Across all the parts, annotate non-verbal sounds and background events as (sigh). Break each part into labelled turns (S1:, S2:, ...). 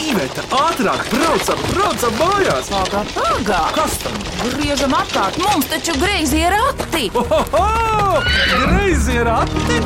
S1: Iveta, ātrāk, braucam, braucam mājās!
S2: Pagā, pagā!
S1: Kas tam?
S2: Griežam apkārt, mums taču greizi ir rati!
S1: Ohoho! Greizi ir rati!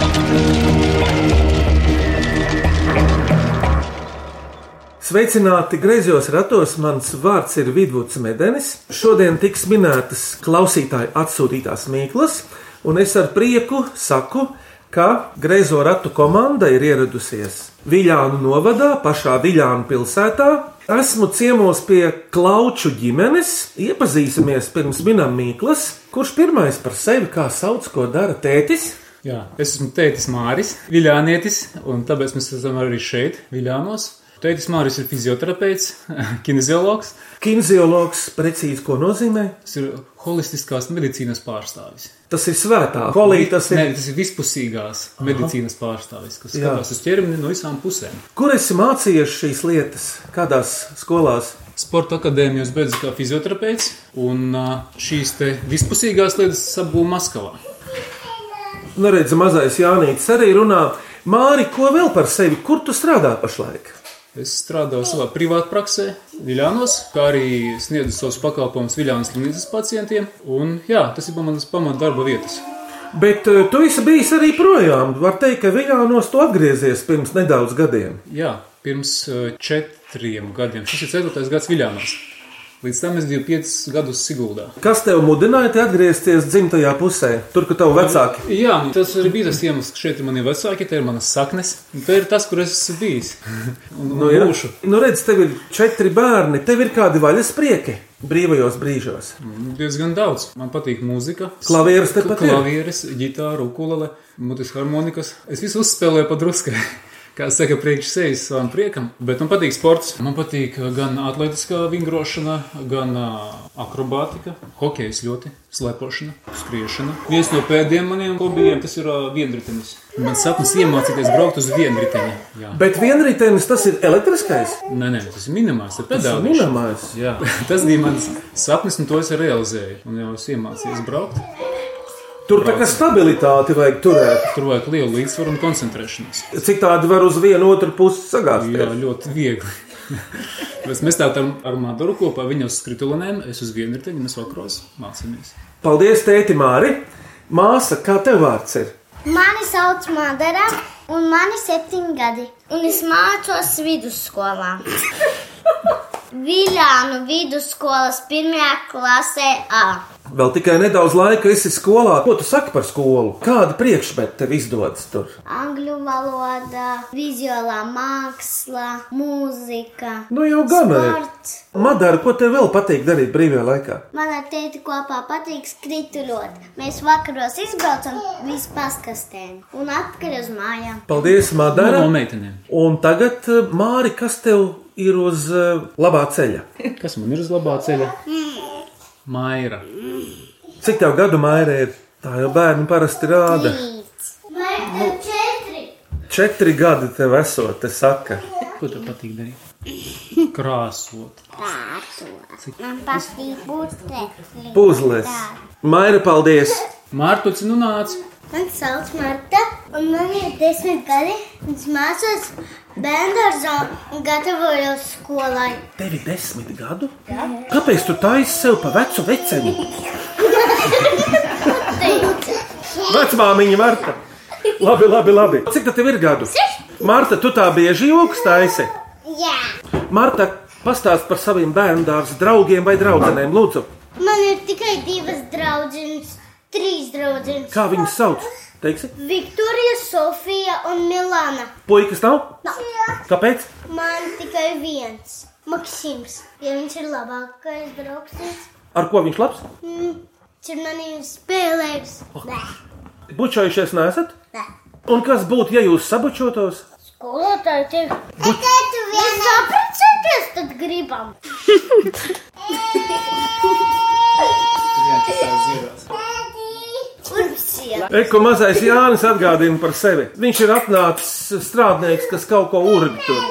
S3: Sveicināti griezos ratos. Mans vārds ir Vidvuds Medenis. Šodien tiks minētas klausītāju atsūtītās mīklas, un es ar prieku saku, ka griezo ratu komanda ir ieradusies Viljānu novadā, pašā Viljānu pilsētā. Esmu ciemos pie Klauču ģimenes. Iepazīsimies pirms minam mīklas, kurš pirmais par sevi kā sauc, ko dara tētis.
S4: Jā, es esmu tētis Māris, Viljānietis, un tāpēc mēs esam arī šeit, Viljānos. Tētis Māris ir fizioterapeits, (laughs) kineziologs,
S3: Kinziologs precīzi ko nozīmē.
S4: tas ir holistiskās medicīnas pārstāvis.
S3: Tas ir svētā kolīte, tas ir
S4: Nē, tas ir vispusīgās Aha. medicīnas pārstāvis, kas
S3: Jā.
S4: skatās uz ķermeni no visām pusēm.
S3: Kur esi mācījies šīs lietas? Kādās skolās?
S4: Sporta akadēmijos beidzu kā fizioterapeits, un ā, šīs te vispusīgās lietas es apgūvu Maskavā.
S3: Nu, redziet, mazais Jānis arī runā. Māri, ko vēl par sevi? Kur tu strādā pašlaik?
S4: Es strādāju savā privātā praksē, Viljānos, kā arī sniedzu savus pakalpojumus Viljānas slimnīcas pacientiem. Un, jā, tas ir manas pamata darba vietas.
S3: Bet eh, tu esi bijis arī projām. Var teikt, ka Viljānos tu atgriezies pirms nedaudz gadiem.
S4: Jā, pirms eh, četriem gadiem. Šis ir ceturtais gads Viljānos. Līdz tam es biju piecus gadus Siguldā.
S3: Kas tev mudināja te atgriezties dzimtajā pusē, tur, kur tavi vecāki?
S4: Jā, nu, tas arī bija tas iemesls, ka šeit ir mani vecāki, te ir manas saknes. un Te ir tas, kur es esmu bijis. (laughs) Un, un
S3: jā.
S4: būšu.
S3: nu redz, tev ir četri bērni, tev ir kādi vaļas prieki brīvajos brīžos.
S4: Diezgan daudz. Man patīk mūzika.
S3: Klavieres tepat ir.
S4: Klavieres, ģitāra, ukulele, mutes harmonikas. Es visu uzspēlēju pa drusku. (laughs) Kā saka, priekš sevis savam priekam, bet man patīk sports. Man patīk uh, gan atletiskā vingrošana, gan uh, akrobātika, hokejs ļoti, slēpošana, skriešana. Viens no pēdējiem maniem hobijiem tas ir uh, vienritenis. Man sapnis iemācīties braukt uz vienriteni. Jā.
S3: Bet vienritenis tas ir elektriskais.
S4: Nē, nē, tas ir minimāls, tas ir
S3: Tas ir
S4: pedālis.
S3: minamais.
S4: Jā, (laughs) tas bija mans sapnis, un to es arī realizēju. Un jau es iemācījos braukt.
S3: Tur tā kā stabilitāti vajag turēt.
S4: Tur vajag lielu līdzsvaru un koncentrēšanos.
S3: Citādi var uz vienu otru pusi sagāzties.
S4: Jā, ļoti viegli. (laughs) Mēs, mēs tā tam ar Mādoru kopā, viņa uz skritulēm, es uz vienu riteņu, mēs vakros mācāmies.
S3: Paldies, tēti Māri! Māsa, kā tev vārds ir?
S5: Mani sauc Madara, un man ir septiņi gadi. Un es mācos vidusskolā. Viljānu vidusskolas pirmajā klasē A.
S3: Vēl tikai nedaudz laika esi skolā. Ko tu saki par skolu? Kāda priekšmeta tev izdodas tur?
S5: Angļu valoda, vizuālā māksla, mūzika,
S3: Nu jau gan ir.
S5: sports.
S3: Madara, ko tev vēl patīk darīt brīvajā laikā?
S5: Man ar tēti kopā patīk skrituļot. Mēs vakaros izbraucam visu paskastēm un atpakaļ uz mājām.
S3: Paldies,
S4: Tā
S3: Madara!
S4: no meitenēm.
S3: Un tagad, eh, Māri, kas tev ir uz eh, labā ceļa?
S4: Kas man ir uz labā ceļa? Maira.
S3: Cik tev gadu mērē ir? Tā jau bērni parasti rāda.
S5: Līdz. Man ir četri.
S3: Četri gadi tev esot, te saka.
S4: Ko tev patīk darīt? Krāsot.
S5: Man patīk būt tētim.
S3: Puzles. Maira, paldies!
S4: Mārtuci, nu nāc!
S5: Man sauc Marta, un man ir desmit gadi. Es mācos bērnu un gatavojos skolai.
S3: Tev ir desmit gadu? Jā. Kāpēc tu taisi sev pa vecu veceni? Vecmāmiņa Marta. Labi, labi, labi. Cik tev ir gadu? Marta, tu tā bieži joks taisi.
S5: Jā,
S3: Marta, pastāst par saviem bērnu dārza draugiem vai draugiem, lūdzu.
S5: man ir tikai divas draudzenes, trīs draudzenes.
S3: Kā viņus sauc? Teiksi,
S5: Viktorija, Sofija un Milana.
S3: puikas nav? Kāpēc?
S5: Man tikai viens. Maksims, ja viņš ir labākais draugs,
S3: Ar ko viņš labs?
S5: mm, viņš ir manījums spēlējums. Nē,
S3: Bučojušies nesat?
S5: nē.
S3: Un kas būtu, ja jūs sabučotos?
S5: Skolotāji tiek. Bet tu vienmēr sapracēties, tad gribam. Urpsiet.
S3: Eko mazais Jānis atgādina par sevi. Viņš ir atnācis strādnieks, kas kaut ko urgi tur.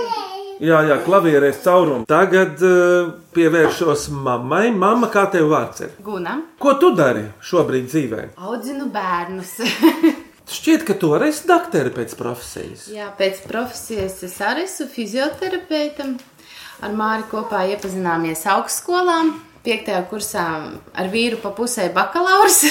S3: Jā, jā, klavierēs caurumu. Tagad uh, pievēršos mammai. Mama, kā tev vārds ir?
S6: Guna,
S3: Ko tu dari šobrīd dzīvē?
S6: audzinu bērnus.
S3: Šķiet, ka tu arī esi doktori pēc profesijas.
S6: Jā, pēc profesijas es arī esmu fizioterapeitam. Ar Māri kopā iepazināmies augstskolām. Piektajā kursā ar vīru pa pusē bakalaurs,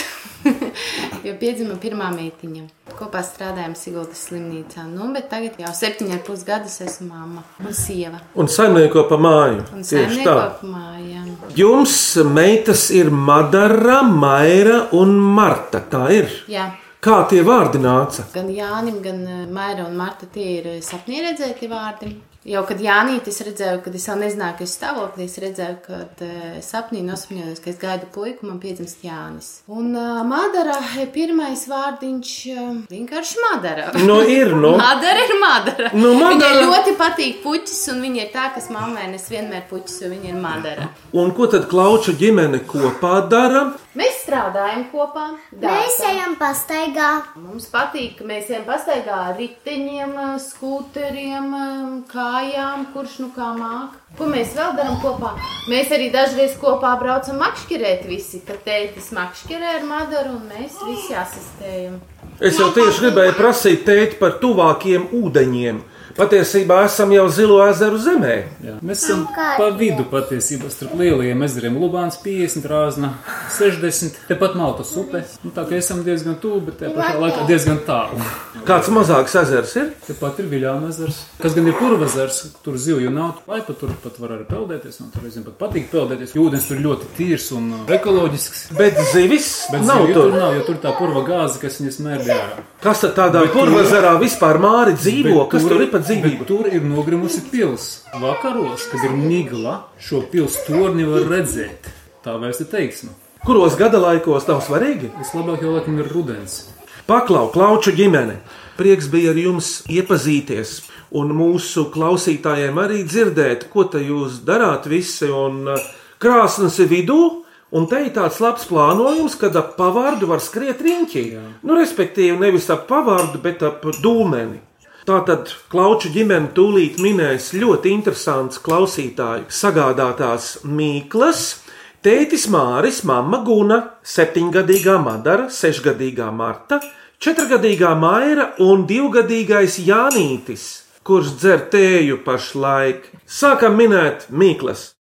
S6: (laughs) jo piedzima pirmā meitiņa. Kopā strādājām Sigultas slimnīcā. Nu, bet tagad jau septiņi ar pus gadus esmu mamma un sieva.
S3: Un saimnieko pa māju.
S6: Un
S3: Tieši tā.
S6: saimnieko mājām.
S3: Jums meitas ir Madara, Maira un Marta. Tā ir.
S6: Jā.
S3: Kā tie vārdi nāca?
S6: Gan Jānis, gan eh, Maira un Marta tie ir eh, sapnī redzēti vārdi. Jau kad Jānis redzēja, kad es vēl nezināju, ka es stāvoklī, es redzēju, ka eh, sapnī nosapņojos, ka es gaidu puiku, man piedzimst Jānis. Un uh, Madara, eh, pirmais vārdiņš eh, vienkārši Madara.
S3: Nu, ir,
S6: (laughs)
S3: nu.
S6: Madara ir Madara.
S3: Nu, Madara-
S6: Viņai ļoti patīk puķis, un viņa ir tā, kas mammai nes vienmēr puķis, jo viņa ir Madara.
S3: Un ko tad klauču ģimene kopā dara?
S6: Mēs strādājam kopā.
S5: Mēs
S6: dārzā.
S5: ejam pastaigā.
S6: Mums patīk, ka mēs ejam pastaigā ar riteņiem, eh, skūteriem, eh, kājām, kurš nu kā māk. Ko mēs vēl darām kopā? Mēs arī dažreiz kopā braucam makšķerēt visi, kad tētis makšķerē ar madaru un mēs visi asistējam.
S3: Es jau tieši gribēju prasīt teikt par tuvākiem ūdeņiem. Patiesībā esam jau zilo ezeru zemē.
S4: Jā. Mēs esam pa vidu patiesībā starp lielajiem ezeriem. Lubāns 50, Rāzna 60, tepat Maltas upe. Nu, tā kā esam diezgan tuvu, bet tajā pašā laikā diezgan tālu.
S3: Kāds mazāks ezers ir?
S4: Tepat ir viļāna ezers, kas gan ir purvazars, tur zivju nav. Lai pat tur pat var arī peldēties, un tur reizēm pat patīk peldēties. jo Ūdens tur ļoti tīrs un uh, ekoloģisks.
S3: Bet zivis
S4: Bet
S3: nav
S4: zivju
S3: tur.
S4: tur nav, jo tur tā purva gāze, kas viņas mērķē ārā.
S3: Kas tad tādā purvazarā vispār māri dzīvo?
S4: Bet
S3: Kas tur ir pa
S4: bet
S3: dzīvību?
S4: Tur ir nogrimusi pils. Vakaros, kad ir migla, šo pils torni var redzēt. Tā vairs ir teiksme.
S3: Kuros gada laikos nav svarīgi?
S4: Vislabāk jau laikam ir rudens.
S3: Paklau, klauču ģimene! Prieks bija ar jums iepazīties, un mūsu klausītājiem arī dzirdēt, ko te jūs darāt visi. Un uh, krāsnes ir vidū, un te ir tāds labs plānojums, kad ap pavārdu var skriet riņķī. Nu, respektīvi, nevis ap pavārdu, bet ap dūmeni. Tātad klauču ģimene tūlīt minēs ļoti interesants klausītāju sagādātās mīklas. Tētis Māris, mamma Guna, septiņgadīgā Madara, sešgadīgā Marta, četrgadīgā Maira un divgadīgais Janītis, kurš dzer tēju pašlaik. Sākam minēt mīklas.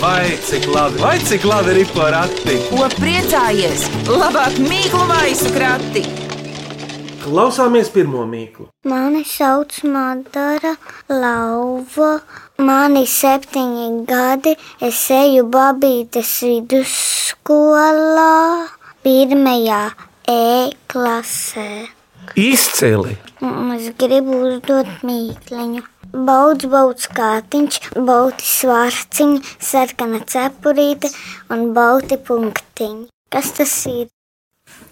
S1: Vai cik labi, vai cik labi ir porakti?
S2: Ko priecājies? Labāk mīklu maisu krati.
S3: Klausāmies pirmo mīklu.
S5: Mani sauc Madara Lauva. Mani septiņi gadi. Es eju Babītes vidusskolā, pirmajā E klasē.
S3: Izcili!
S5: Un es gribu uzdot mīkliņu. Baudz, baudz kātiņš, bauti svārciņi, sarkana cepurīte un bauti punktiņi. Kas tas ir?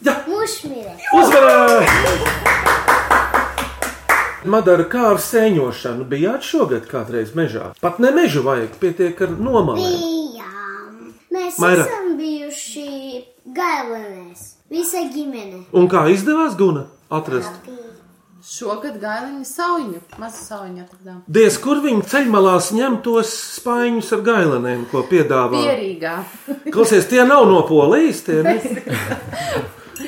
S3: Ja.
S5: Mušmire.
S3: Uzvarēji! Madara kā ar sēņošanu bijāt šogad kādreiz mežā. Pat ne mežu vajag, pietiek ar nomalēm.
S5: Bijām. Mēs
S3: Maira.
S5: esam bijuši galvenais. Visa ģimene.
S3: Un kā izdevās Guna atrast?
S6: Šogad gailiņa sauņu, mazu sauņu atradām.
S3: Diez kur viņi ceļmalās ņem tos spaiņus ar gailenēm, ko piedāvā.
S6: Pierīgā.
S3: Klausies, tie nav no polijas, tie ne?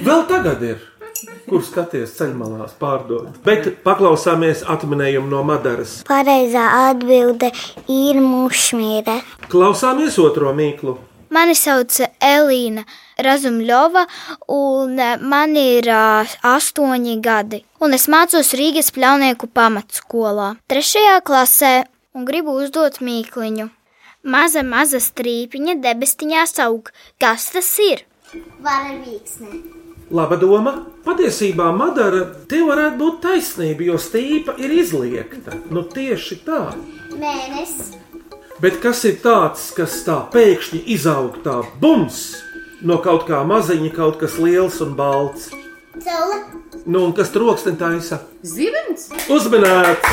S3: Vēl tagad ir. Kur skaties ceļmalās pārdot? Bet paklausāmies atminējumu no Madaras.
S5: Pareizā atbilde ir mušmire.
S3: Klausāmies otro mīklu.
S7: Mani sauc Elīna Razumļova, un eh, man ir ā, astoņi gadi. Un es mācos Rīgas pļaunieku pamatskolā, trešajā klasē, un gribu uzdot mīkliņu. Maza, maza strīpiņa debestiņā aug. Kas tas ir?
S5: Varavīksne.
S3: Laba doma. Patiesībā, Madara, te varētu būt taisnība, jo stīpa ir izliekta. Nu, tieši tā.
S5: Mēnesis.
S3: Bet kas ir tāds, kas tā pēkšņi izaug tā bums? No kaut kā maziņa kaut kas liels un balts.
S5: Caula.
S3: Nu, un kas troksni taisa?
S6: Zibens!
S3: Uzminēts!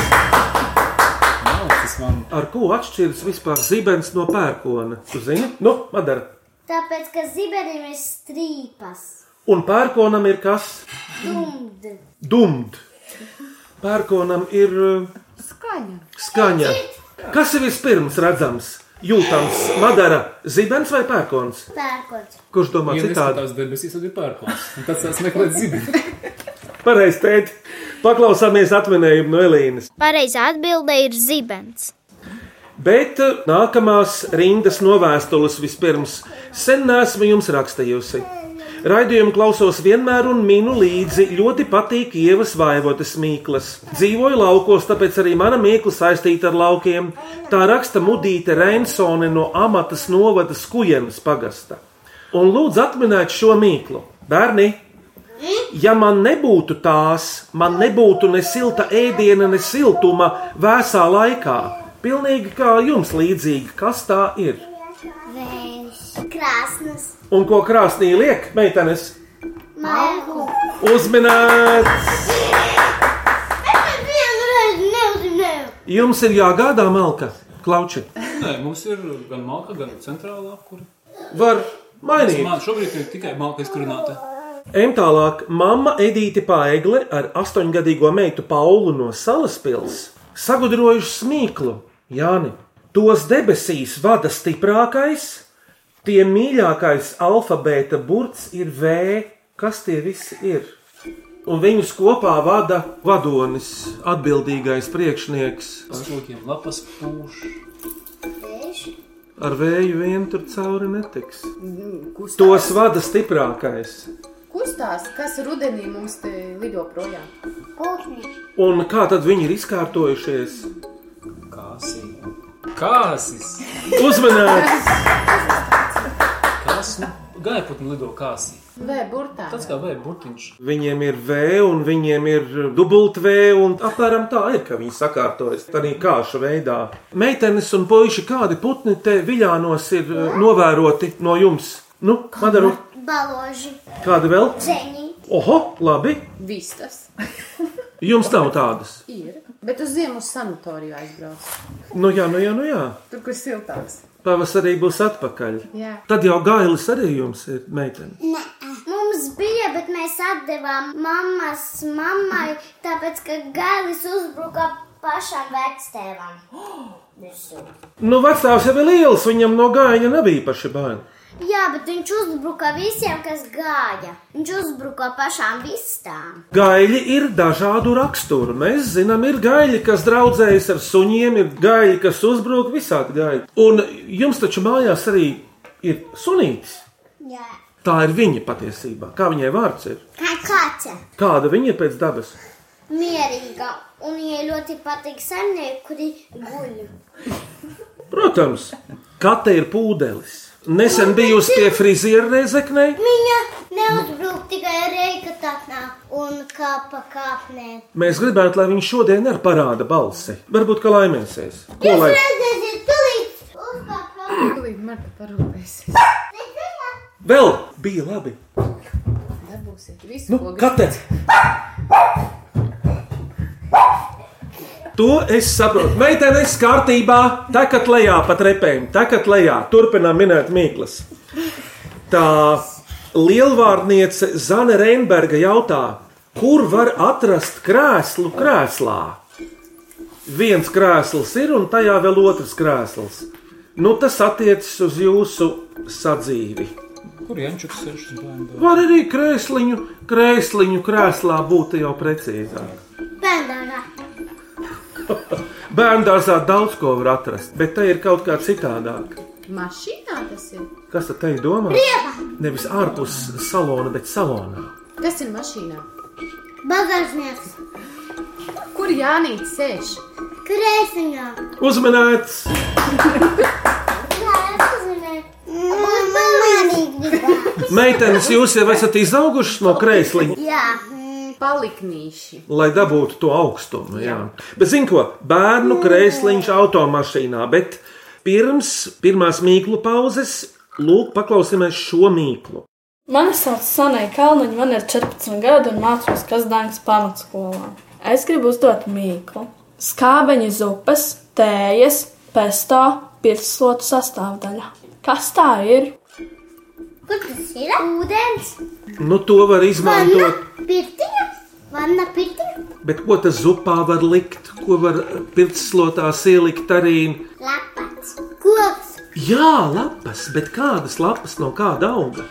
S4: Nav tas man
S3: Ar ko atšķiras vispār zibens no pērkona? Tu zini? Nu, Madara.
S5: Tāpēc, ka ziberim ir strīpas.
S3: Un pērkonam ir kas?
S5: Dumd.
S3: Dumd. Pērkonam ir uh,
S6: Skaņa!
S3: skaņa. Kas ir vispirms redzams? Jūtams, madara, zibens vai pērkons?
S5: Pērkots.
S3: Kurš domā
S4: ir. Ja
S3: citādi?
S4: neskatās debesīs, tad ir pērkons. Un Tas tas meklē
S3: (laughs)
S4: zibeni.
S3: Pareizi teikt, paklausāmies atminējumu no Elīnas.
S7: Pareizā atbilde ir zibens.
S3: Bet eh, nākamās rindas novēstules vispirms sen nesmu jums rakstījusi. Raidījumu klausos vienmēr un minu līdzi ļoti patīk ievas vaivotas mīklas. Dzīvoju laukos, tāpēc arī mana mīkla saistīta ar laukiem. Tā raksta Mudīte Reinsone no amatas novada Skujenas pagasta. Un lūdzu atminēt šo mīklu. Bērni, Ja man nebūtu tās, man nebūtu ne silta ēdiena, ne siltuma vēsā laikā. Pilnīgi kā jums līdzīgi, kas tā ir.
S5: Vējš, krāsnes,
S3: Un ko krāsnī liek, meitenes?
S5: malku.
S3: Uzminēts!
S5: Es vienreiz neuzzināju.
S3: Jums ir jāgādā malka, klauči.
S4: Nē, mums ir gan malka, gan centrālā kur.
S3: Var mainīt.
S4: Man šobrīd ir tikai malka izkurināta.
S3: Ejam tālāk. Mama Edīte Paigle ar astoņgadīgo meitu Paulu no Salaspils sagudrojuši smīklu. Jāni, tos debesīs vada stiprākais, tie mīļākais alfabēta burts ir V. Kas tie visi ir? Un viņus kopā vada vadonis, atbildīgais priekšnieks.
S4: Ar kokiem lapas pūš.
S3: Ar vēju vien tur cauri netiks.
S6: Kustās.
S3: Tos vada stiprākais.
S6: Kustās, kas rudenī mums te lido projām?
S5: Kūkni,
S3: Un kā tad viņi ir izkārtojušies?
S4: Kāsi. Kāsis.
S3: Uzmanīgs!
S4: Kāsu. Gaiputni nu, lido kāsī.
S6: Vai burtā?
S4: Tāds kā vēja burtiņš.
S3: Viņiem ir V, un viņiem ir dubult V, un apmēram tā ir, ka viņi sakārtojas tādā kāša veidā. Meitenes un puiši, kādi putni te viļānos ir eh, novēroti no jums? Nu, padaru
S5: baloži,
S3: kādu vēl?
S5: dzeņi.
S3: Oho, labi,
S6: Vistas (laughs)
S3: jums nav tādas.
S6: ir. Bet uz ziemu uz sanatoriju aizbrauc.
S3: Nu jā, nu jā, nu jā.
S6: Tur, kur siltāks.
S3: Pavasarī būs atpakaļ.
S6: Jā.
S3: Tad jau gailis arī jums ir, meitene.
S5: Nē, mums bija, bet mēs atdevām mammas mammai, tāpēc, ka gailis uzbruka pašam (gasps) vectēvam.
S3: Nu, vecāks jau ir liels, viņam no gaiņa nebija paši baili.
S5: Jā, bet viņš uzbruka visiem, kas gāja. Viņš uzbruka pašām vistām.
S3: Gaļi ir dažādu raksturu. Mēs zinām, ir gaļi, kas draudzējas ar suņiem, ir gaļi, kas uzbrūk visādi gaļi. Un jums taču mājās arī ir sunītis.
S5: Jā.
S3: Tā ir viņa patiesībā. Kā viņai vārds ir?
S5: Kā kaķa?
S3: Kāda viņa ir pēc dabas?
S5: Mierīga. Un viņai ļoti patīk saimnieki, kuri guļ.
S3: Protams, kate ir pūdelis. Nesen bijusi pie friziera reizeknē.
S5: Viņa neuzbruka tikai reikatā un kāpa kāpnē.
S3: Mēs gribētu, lai viņš šodien arī parāda balsi. Varbūt, ka laimēsies. Ko lai?
S5: redzēsiet, tulīt uzkāpa.
S6: Tūlīt Marta parūpēsies.
S3: Vēl bija labi.
S6: Dabūsiet visu,
S3: Nu,
S6: ko gribat.
S3: Kate! To es saprotu. Meitenes kārtībā, tagad lejā pa trepēm, tagad lejā. Turpinām minēt mīklas. Tā lielvārniece Zane Reinberga jautā, kur var atrast krēslu krēslā? Viens krēsls ir un tajā vēl otrs krēsls. Nu, tas attiecas uz jūsu sadzīvi.
S4: Kur Jančuks sēž uz bērnu?
S3: Var arī krēsliņu, krēsliņu krēslā būt jau precīzāk.
S5: Bendāna.
S3: Bērnu dārzā daudz ko var atrast, bet te ir kaut kā citādāk.
S6: Mašīnā tas ir.
S3: Kas tad te ir domāts? Nevis ārpus salona, bet salonā.
S6: Kas ir mašīnā?
S5: Bagāžnieks.
S6: Kur Jānis sēž?
S5: Krēsiņā.
S3: Uzmanīts!
S5: Jā, es uzzināju.
S3: Mm,
S5: Un pamanīgi.
S3: Meitenes, jūs jau esat izaugušas no krēsliņa,
S5: Jā.
S6: Paliknīši.
S3: lai dabūtu to augstumu. Jā. Bet zinu, ko bērnu krēsliņš automašīnā, bet pirms pirmās mīklu pauzes, lūk, paklausīsimies šo mīklu.
S8: Mani sauc Sanai Kalniņa, man ir 14 gadi un mācos Kazdāngas pamatskolā. Es gribu uzdot mīklu. Skābeņa zupas, tējas, pesto, pirslotu sastāvdaļa. Kas tā ir?
S5: Kur tas ir? Ūdens.
S3: Nu, to var izmantot.
S5: Pirtiņa. Vanna pirtiņa.
S3: Bet ko tas zupā var likt, ko var pirkslotās ielikt arī?
S5: Lapats. Koks.
S3: Jā, lapas, bet kādas lapas no kāda auga?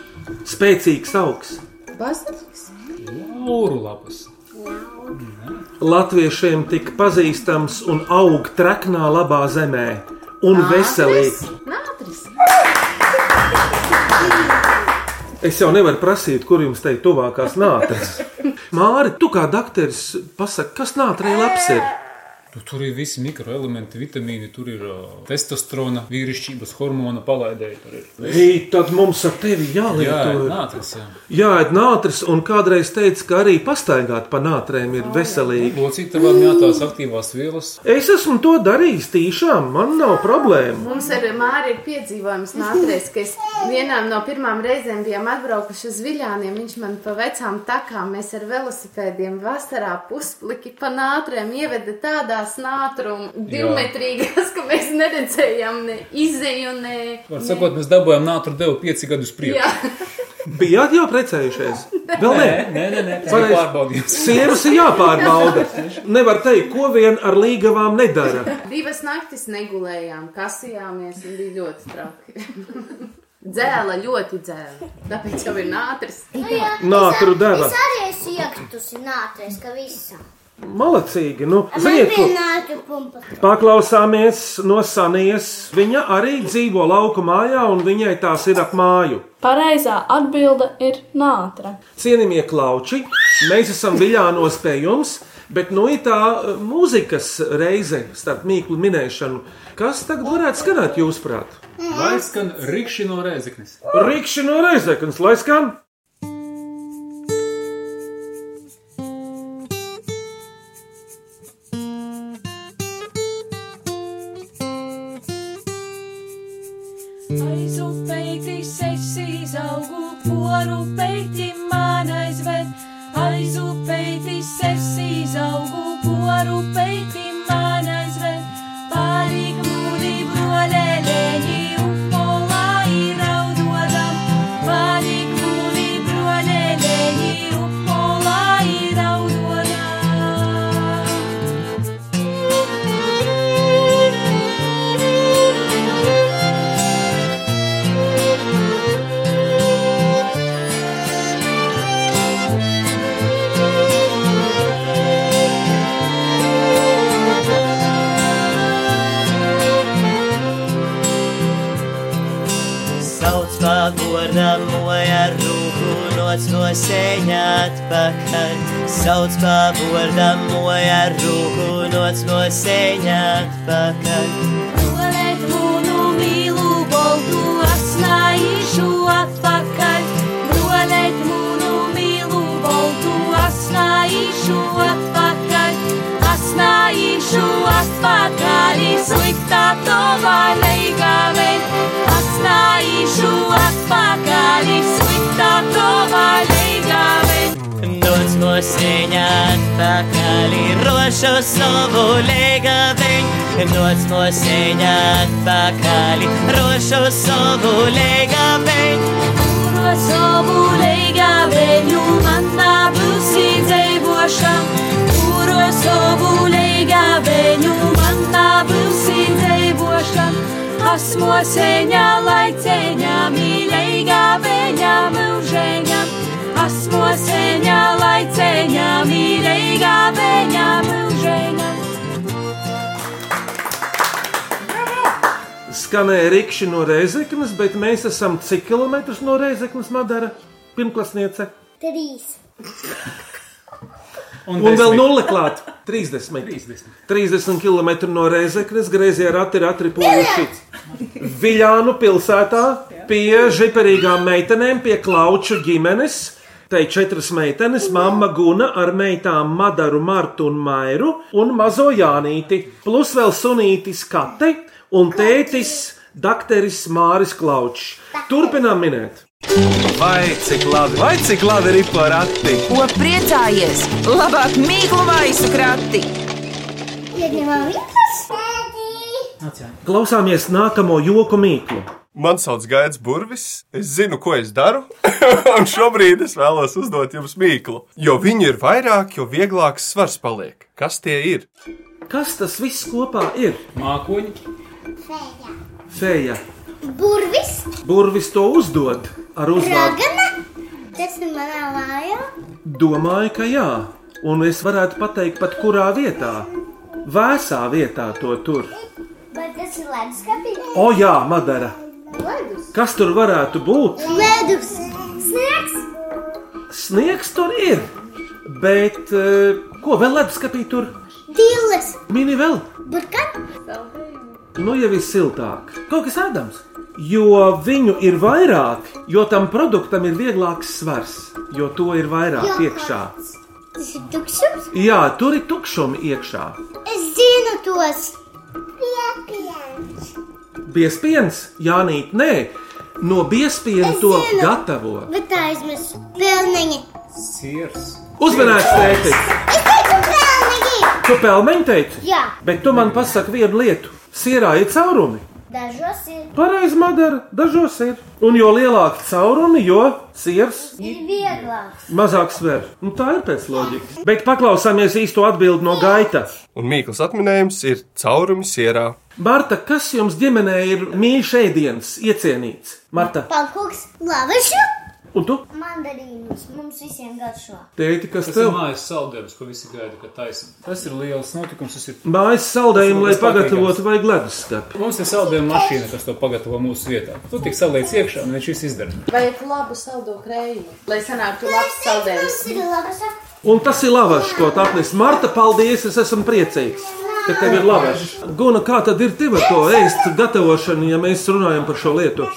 S3: Spēcīgs augs.
S6: Basiliks.
S4: Lauru lapas.
S3: Latviešiem tik pazīstams un aug traknā labā zemē. un veselīgi.
S6: Nātris!
S3: Es jau nevaru prasīt, kur jums teikt, tuvākās nātris. Māri, tu kā dakteris, pasaki, kas nātrei labs ir?
S4: Nu, tur ir visi mikroelementi, vitamīni, tur ir uh, testosterona, vīrišķības hormona palaidēji. Tur ir
S3: Ei, tad mums ar tevi
S4: jā,
S3: jālieto.
S4: nācis. Jā.
S3: Jā, ir nātris, un kādreiz teica, ka arī pastaigāt pa nātrēm ir veselīgi.
S4: Locītavām jātās aktīvās vielas.
S3: Es esmu to darījis tīšām, man nav problēmu.
S6: Mums ar Māri ir piedzīvojums nākamreiz, ka es vienā no pirmām reizēm bijām atbraukuši uz Viļāniem. Viņš man pa vecām takām, mēs ar velosipēdiem vasarā puspliki pa nātrēm ieveda tādās nātrum divmetrīgās, ka mēs neredzējām ne izeju, ne...
S4: Var sakot, mēs dabūjām nātru devu pieci gadus priekšā.
S6: Jā,
S3: Bijāt jau precējušies? Vēl nē.
S4: nē, nē, nē, tas
S3: Pareizi.
S4: bija pārbaudījums.
S3: Sievas ir jāpārbauda. Nevar teikt, ko vien ar līgavām nedara.
S6: divas naktis negulējām, kasījāmies un bija ļoti traki. Dzēla ļoti dzēla, tāpēc jau ir nātris.
S5: Nu
S3: Nātru deva.
S5: Es arī esmu iekritus nātris, ka visam.
S3: Malacīgi, nu,
S5: Man
S3: ziniet, ko?
S5: bija nātris pumpa.
S3: Paklausāmies no Sanijas. Viņa arī dzīvo lauku mājā, un viņai tās ir ap māju.
S8: Pareizā atbilde ir nātra.
S3: Cienījamie klauči, mēs esam viļānos pie jums, bet nu ir tā eh, mūzikas reize starp mīklu minēšanu. Kas tagad varētu skanēt jūsuprāt?
S4: Lai skan rikši no rēzeknes.
S3: Rikšķi no reizeknas, lai skan!
S9: Aizupeitis esi izaugu, poru peiti man aizved. Aizupeitis esi izaugu, poru peiti man aizved. Pārīk mūri brolēlēji, upolā iraudodam. Pārīk mūri brolēlēji, upolā iraudodam. Sauc pagurnam, moja rūku noc no sēņa atpakaļ. Sauc pagurnam, moja rūku noc no sēņa atpakaļ. Tolēt mūnu nu, mīlu boltu, asnājišu atpakaļ. Tolēt mūnu mīlu boltu, asnājišu atpakaļ. Asnājišu atpakaļ, sliktā to vaļīgā veidā. Asnājišu atpakaļ, sliktā to vaļīgā veidā. Dots no sēņa atpakaļ, rošu savu legabeņu. Dots no sēņa atpakaļ, rošu savu legabeņu. Kuro savu legabeņu man nabusi dzēvošam. Kuro savu legabeņu man nabusi dzēvošam. Asmo sēņa laiceņa, mīļīgā veņa mūžēņa. Asmo sēņa, laiceņa, mīļīgā veņa, mūžēņa.
S3: Skanēja rīkšķi no reizeknas, bet mēs esam cik kilometrus no reizeknas madara? Pirmklasniece.
S5: Trīs.
S4: Un,
S3: Un vēl
S4: desmit.
S3: nulle klāt. 30.
S4: 30.
S3: 30 km no Reizeknas griezījā rati ir atripojuši Viļānu pilsētā pie žiperīgām meitenēm, pie klauču ģimenes. Te ir četras meitenes, mamma Guna ar meitām Madaru, Martu un Mairu un mazo Jānīti. Plus vēl sunītis Kate un tētis Dakteris Māris Klaučs. Turpinām minēt.
S1: Vai cik labi, vai cik labi ir porakti!
S2: Ko priecājies? Labāk mīklu maisu krati!
S5: Ieņemam vitas. Tēti!
S3: Klausāmies nākamo joku mīklu.
S10: Mani sauc Gaidis Burvis, es zinu, ko es daru, (laughs) un šobrīd es vēlos uzdot jums mīklu. Jo viņu ir vairāk, jo vieglāks svars paliek. Kas tie ir?
S3: Kas tas viss kopā ir?
S4: Mākoņi.
S3: Feja!
S5: Burvis,
S3: Burvis to uzdod ar uzvārdu.
S5: ragana, tas ir manā mājā.
S3: Domāju, ka jā, un es varētu pateikt, pat kurā vietā. Vēsā vietā to tur.
S5: Vai tas Tas ir leduskapis.
S3: O, jā, Madara.
S5: Ledus.
S3: Kas tur varētu būt?
S5: Ledus. Sniegs.
S3: Sniegs tur ir. Bet eh, ko vēl leduskapī tur?
S5: Diles.
S3: Mini vēl.
S5: Burkat.
S3: Nu, jau ir siltāk. Kaut kas ēdams. Jo viņu ir vairāk, jo tam produktam ir vieglāks svars, jo to ir vairāk
S5: Jā.
S3: iekšā.
S5: Tas ir tukšums.
S3: Jā, tur ir tukšumi iekšā.
S5: Es zinu tos. Piepienas.
S3: Biespējams, Jānīt, nē, no biespiena
S5: Es
S3: to
S5: zinu.
S3: gatavo.
S5: Bet aizmirsu. Pelniņi.
S4: Sirs.
S3: Uzmanīgs, tēti,
S5: Es teicu pelniņi.
S3: tu pelmeņi teici,
S5: Jā.
S3: bet tu man pasaki vienu lietu. Sierā ir caurumi.
S5: Dažos ir.
S3: Pareizi, madara, dažos ir. Un jo lielāki caurumi, jo sirs
S5: Ir vieglāk.
S3: mazāk sver. Nu, tā ir pēc loģikas. Bet paklausāmies īsto atbildi no gaita.
S10: Un Mīkls atminējums ir caurumi sierā.
S3: Marta, kas jums ģimenē ir mīļš ēdiens, iecienīts? Marta,
S5: Pankūks. Lavašu.
S3: un tu?
S5: Mandarīnus. Mums visiem garšo.
S3: Tēti, kas
S4: Tas ir
S3: tev?
S4: mājas saldējums, ko visi gaida, ka taisam. Tas ir liels notikums, tas ir.
S3: Mājas saldējumu, lai
S4: Tas man tas
S3: pagatavotu, vajag leduskapi.
S4: Mums ir saldējuma mašīna, kas to pagatavo mūsu vietā. Tu tik saliec iekšā, un viņš viss izdara.
S6: Vajag labu saldo krējumu, lai sanāktu labs saldējums.
S5: Tas ir lavaša.
S3: Un tas ir lavašs, ko tā apnes. Marta, paldies, es esmu priecīgs, ka tev ir lavašs. Guna, kā tad ir tev ar to ēst gatavošanu, ja mēs runājam par šo lietu?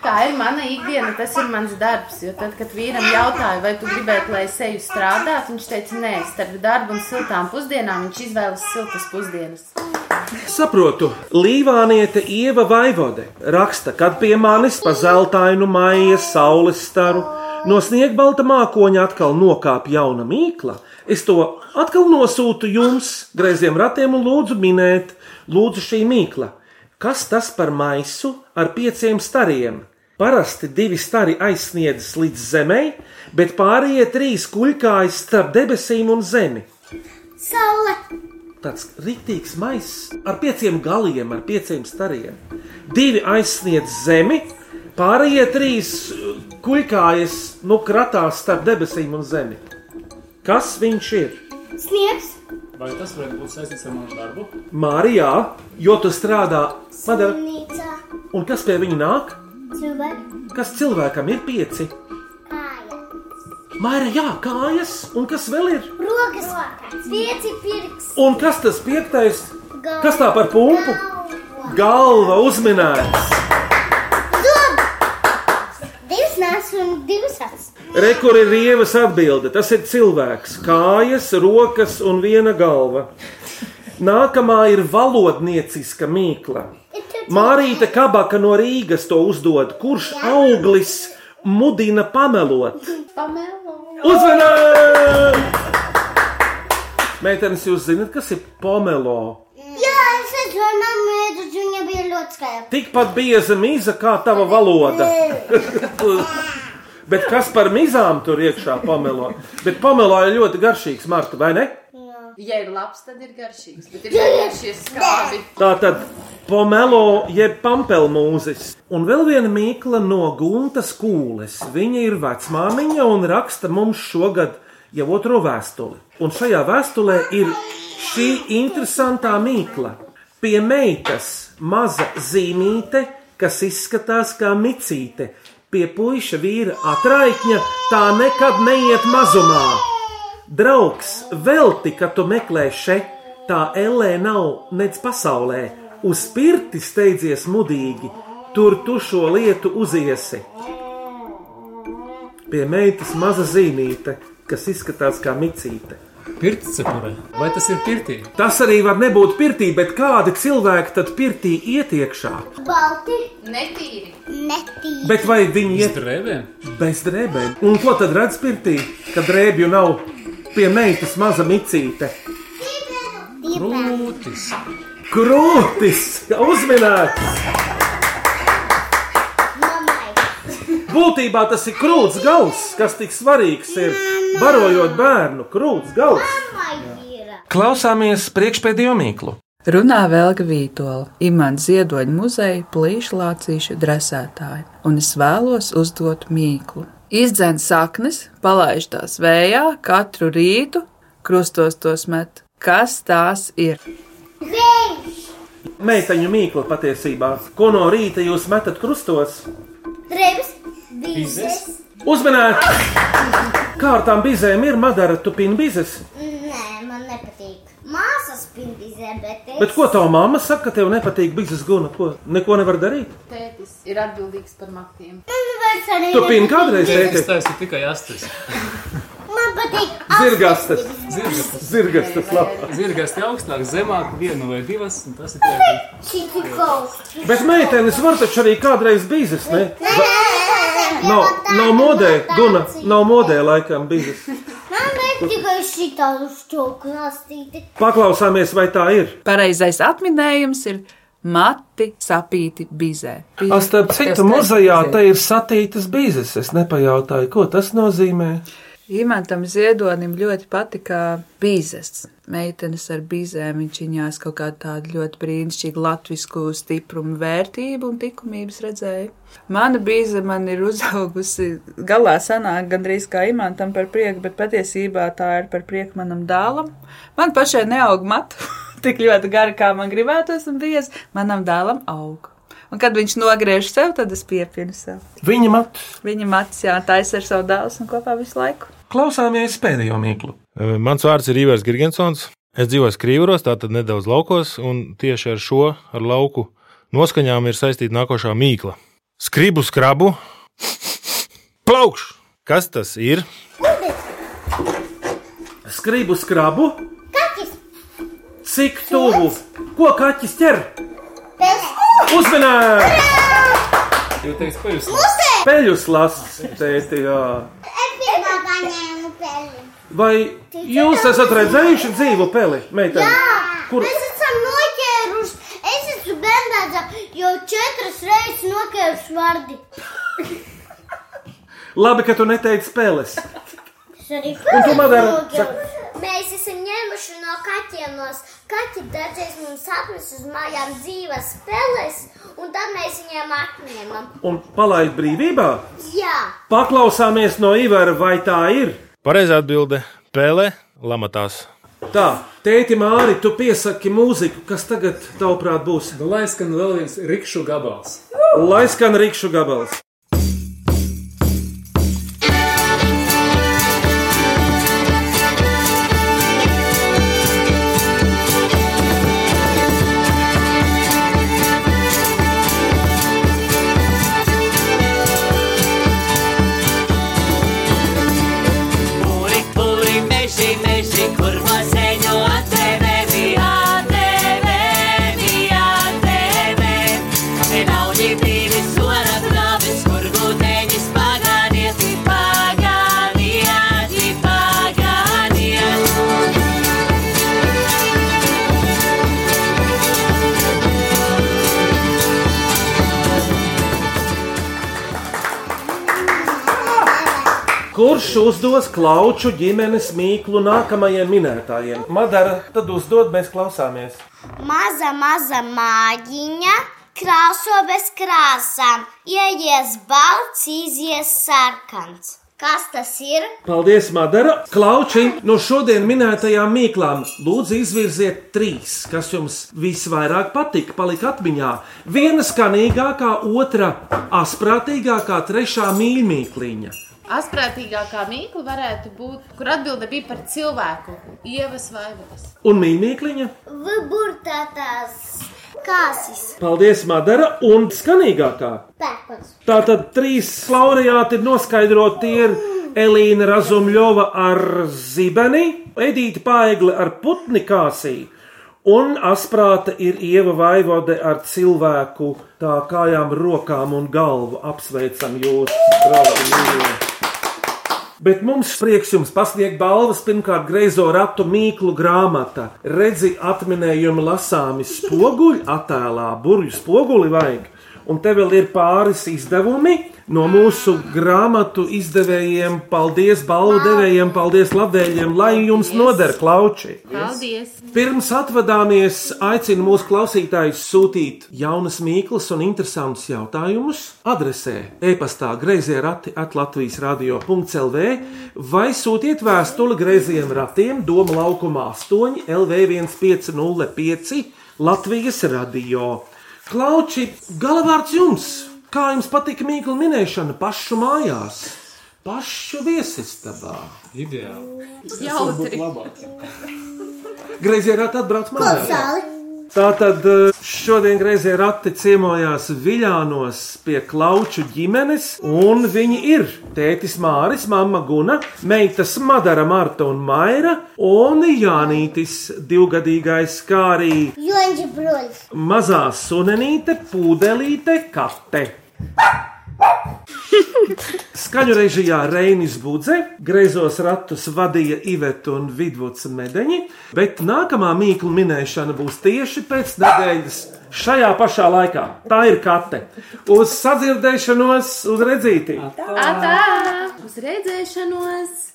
S6: Tā ir mana ikdiena, tas ir mans darbs. Jo tad, kad vīram jautāja, vai tu gribētu, lai es eju strādāt, viņš teica, nē, starp darbu un siltām pusdienām viņš izvēlas siltas pusdienas.
S3: Saprotu, Līvāniete Ieva Vaivode raksta, kad pie manis pa zeltainu maija saules staru no sniegbalta mākoņa atkal nokāp jauna mīkla. Es to atkal nosūtu jums, graziem ratiem, un lūdzu minēt, lūdzu šī mīkla. Kas tas par maisu ar pieciem stariem? Parasti divi stari aizsniedzas līdz zemei, bet pārējie trīs kuļkājas starp debesīm un zemi
S5: Saule.
S3: tāds rītīgs maisis ar pieciem galiem, ar pieciem stariem. Divi aizsniedz zemi, pārējie trīs uh, kuļkājas nu kratās starp debesīm un zemi. Kas viņš ir?
S5: Sniegs.
S4: Vai tas varētu būt saistīts ar manu darbu?
S3: Mārijā, jo tu strādā padara,
S5: Nīca.
S3: un kas pie viņa nāk?
S5: Cilvēks.
S3: Kas cilvēkam ir pieci?
S5: Kāja.
S3: Mārijā, kājas, un kas vēl ir?
S5: Rokas. Pieci pirks.
S3: Un kas tas piektais? Kas tā par pumpu?
S5: Galva.
S3: Galva uzminēta.
S5: Zob. Divas nāsas un divas acis.
S3: Rekur ir rievas atbilde. Tas ir cilvēks, kājas, rokas un viena galva. Nākamā ir valodnieciska mīkla. Mārīta Kabaka no Rīgas to uzdod. Kurš auglis mudina pamelot?
S6: Pamēlo.
S3: Uzmanīgi! Meitenes, jūs zinat, kas ir pomelo?
S5: Mm. Jā, es redzu, ka man mēdus viņa bija ļoti skaļa.
S3: Tikpat bieza mīza kā tava valoda. (laughs) Bet kas par mizām tur iekšā pomelo? Bet pomelo ir ļoti garšīgs, Marta, vai ne?
S6: Ja ir labs, tad ir garšīgs, bet ir garšīgs skābi.
S3: Tā tad pomelo jeb pampelmūzis. Un vēl viena mīkla no Guntas kūles. Viņa ir vecmāmiņa un raksta mums šogad jau otro vēstuli. Un šajā vēstulē ir šī interesantā mīkla. Pie meitas maza zīmīte, kas izskatās kā micīte. Pie puika vīra atraitņa tā nekad neiet mazumā. Draugs, velti, ka tu meklē še, tā ellē nav nec pasaulē. Uz pirti steidzies mudīgi, tur tu šo lietu uziesi. Pie meitas maza zīmīte, kas izskatās kā micīte.
S4: Pirts cepurē. Vai tas ir pirtī?
S3: Tas arī var nebūt pirtī, bet kādi cilvēki tad pirtī iet iekšā?
S5: Balti,
S6: Netīri.
S5: netīri.
S3: Bet vai viņi
S4: Iet
S3: iet
S4: drēbēm?
S3: bez drēbēm? Un ko tad redz pirtī, kad drēbju nav pie meitas maza micīte?
S4: Krūtis.
S3: Krūtis, uzminēts! Būtībā tas ir krūts gals, kas tik svarīgs ir barojot bērnu krūts gals. Klausāmies priekšpēdējo mīklu.
S2: Runā Velga Vītola, imanta ziedoņa muzeja plīšlācīšu dresētāja, un es vēlos uzdot mīklu. Izdzen saknes, palaiž tās vējā katru rītu, krustos tos met. Kas tās ir?
S3: Meiteņu mīklu patiesībā. Ko no rīta jūs metat krustos?
S5: Reibs, bīzes.
S3: Uzmanīt! Kā ar tām bizēm ir madara tupīna bizes?
S5: Nē, man nepatīk. Māsas spindīzē, bet es.
S3: Bet ko tava mamma saka, ka tev nepatīk bizes guna? Ko? Neko nevar darīt?
S6: Tētis ir atbildīgs par matiem.
S5: Man vairs arī
S3: Tupīna kādreiz
S4: Es
S3: teikt,
S4: taisu tikai astes.
S5: Man patīk.
S3: zirgastas,
S4: Zirgas,
S3: zirgas tas labs.
S4: zirgas te augstāk, zemāk, vienu vai divas, un tas ir tikai.
S5: Čiki kaut.
S3: Bet meitenes var taču arī kādreiz bizes, ne? Nav, nav modē, Duna, nav modē laikam bizes.
S5: Man vajag tikai šī tādu šķūku rastīti.
S3: Paklausāmies, vai tā ir.
S2: Pareizais atminējums ir mati sapīti bizē.
S3: A, starp citu, muzejā te ir satītas bizes. Es nepajautāju, ko tas nozīmē.
S2: Imantam Ziedonim ļoti patika bīzes. Meitenes ar bīzēm viņš viņās kaut kādu tādu ļoti brīnišķīgu latvisku stiprumu, vērtību un likumības redzēja. Mana bīze man ir uzaugusi, galā sanāk gandrīz kā imantam par prieku, bet patiesībā tā ir par prieku manam dēlam. Man pašai neaug matu (laughs) tik ļoti gara, kā man gribētos, un bijis manam dēlam aug. Un kad viņš nogriež sev, tad es piepinu sev.
S3: Viņa mat.
S2: Viņa macis jātaisa ar savu dēlu un kopā visu laiku.
S3: Klausāmies pēdējo mīklu.
S11: Mans vārds ir Ivars Gigantsons. Es dzīvoju Skrīvros, tātad nedaudz laukos, un tieši ar šo ar lauku noskaņām ir saistīta nākošā mīkla. Skribu skrabu, (laughs) plaukšu! Kas tas ir?
S3: Skrību skrabu,
S5: Kaķis,
S3: cik tuvu. Ko kaķis ķer?
S5: pēc
S3: Uzmanīgi!
S4: Jau teicu, ko jūs
S3: Peļus lasītājā.
S5: es pirmā paņēmu peli.
S3: Vai jūs esat redzējuši dzīvu peli, meiteni? Kur?
S5: Mēs esam noķēruši. Es esmu bērnādzā jau četras reizes noķēruši vārdi.
S3: Labi, ka tu neteici peles.
S5: Es arī
S3: Un tu, Madara,
S5: noķēru. Mēs esam ņēmuši no kaķiem nos. Kaķi dažreiz mums atnes uz mājām dzīves peles, un tad mēs viņiem atņemam.
S3: Un palaid brīvībā.
S5: Jā,
S3: Paklausāmies no Ivara, vai tā ir.
S11: Pareizā atbilde - pēle lamatās.
S3: Tā, tēti Māri, tu piesaki mūziku, kas tagad, tavuprāt, būs.
S4: Nu, lai skan vēl viens rikšu gabals.
S3: Lai skan rīkšu gabals.
S9: Puri, puri, meži, meži, kur mazeņu atdevē, bija atdevē, bija atdevē. Te nav ģipīri sora pravis, kur gūteņis pagāniet, i pagāniet, i pagāniet.
S3: Kurš uzdos klauču ģimenes mīklu nākamajiem minētājiem? Madara, tad uzdod, mēs klausāmies.
S5: maza, maza māģiņa. Krāso bez krāsām, ieies balts, izies sarkans. Kas tas ir?
S3: Paldies, Madara! Klauči no šodien minētajām mīklām, lūdzu, izvirziet trīs, kas jums visvairāk patika, palika atmiņā. Viena skanīgākā, otra asprātīgākā, trešā mīļmīkliņa.
S6: Asprātīgākā mīkla varētu būt, kur atbilde bija par cilvēku, ievas vai vas.
S3: Un mīļmīkliņa?
S5: Viburtētās kāsis,
S3: Paldies, Madara! Un skanīgākā!
S5: pērkons.
S3: Tātad trīs laureāti ir noskaidroti. Tie ir Elīna Razumļova ar zibeni, Edīta Pāigle ar putni kāsī. Un asprāta ir ieva vaivode ar cilvēku tā kājām, rokām un galvu. Apsveicam jūs, draugi! mīļie! Bet mums prieks jums pasniegt balvas pirmkārt greizo ratu mīklu grāmata. Redzi, atminējumi lasāmi spoguļu attēlā, burbuļu spoguli vajag. Un te vēl ir pāris izdevumi no mūsu grāmatu izdevējiem. Paldies balvu devējiem, paldies labdējiem, lai jums noder klauči!
S6: Paldies!
S3: Pirms atvadāmies, aicinu mūsu klausītājus sūtīt jaunas mīklas un interesantus jautājumus. Adresē e-pastā grazījā rati atlatvijas radio.clv vai sūtiet vēstuli grazījiem ratiem Doma laukumā 8 LV 1505. Latvijas radio. Klauči, galvārds jums! Kā jums patika mīkla minēšana pašu mājās, pašu viesistabā?
S4: Ideāli.
S2: Jautri.
S3: Grazījā rāta atbrauc mājās. Tātad eh, šodien Greizē Rati ciemojās Viļānos pie Klauču ģimenes, un viņi ir tētis Māris, mamma Guna, meitas Madara Marta un Maira, un Jānītis divgadīgais, kā arī
S5: Joņģi broļs.
S3: mazā sunenīte, pūdelīte, kate. Skaņu režijā Reinis Budze, greizos ratus vadīja Iveta un Vidvuds Medeņi, bet nākamā mīklu minēšana būs tieši pēc nedēļas šajā pašā laikā. Tā ir kate. Uz sadzirdēšanos, uz redzītību!
S6: Atā! Uz redzēšanos!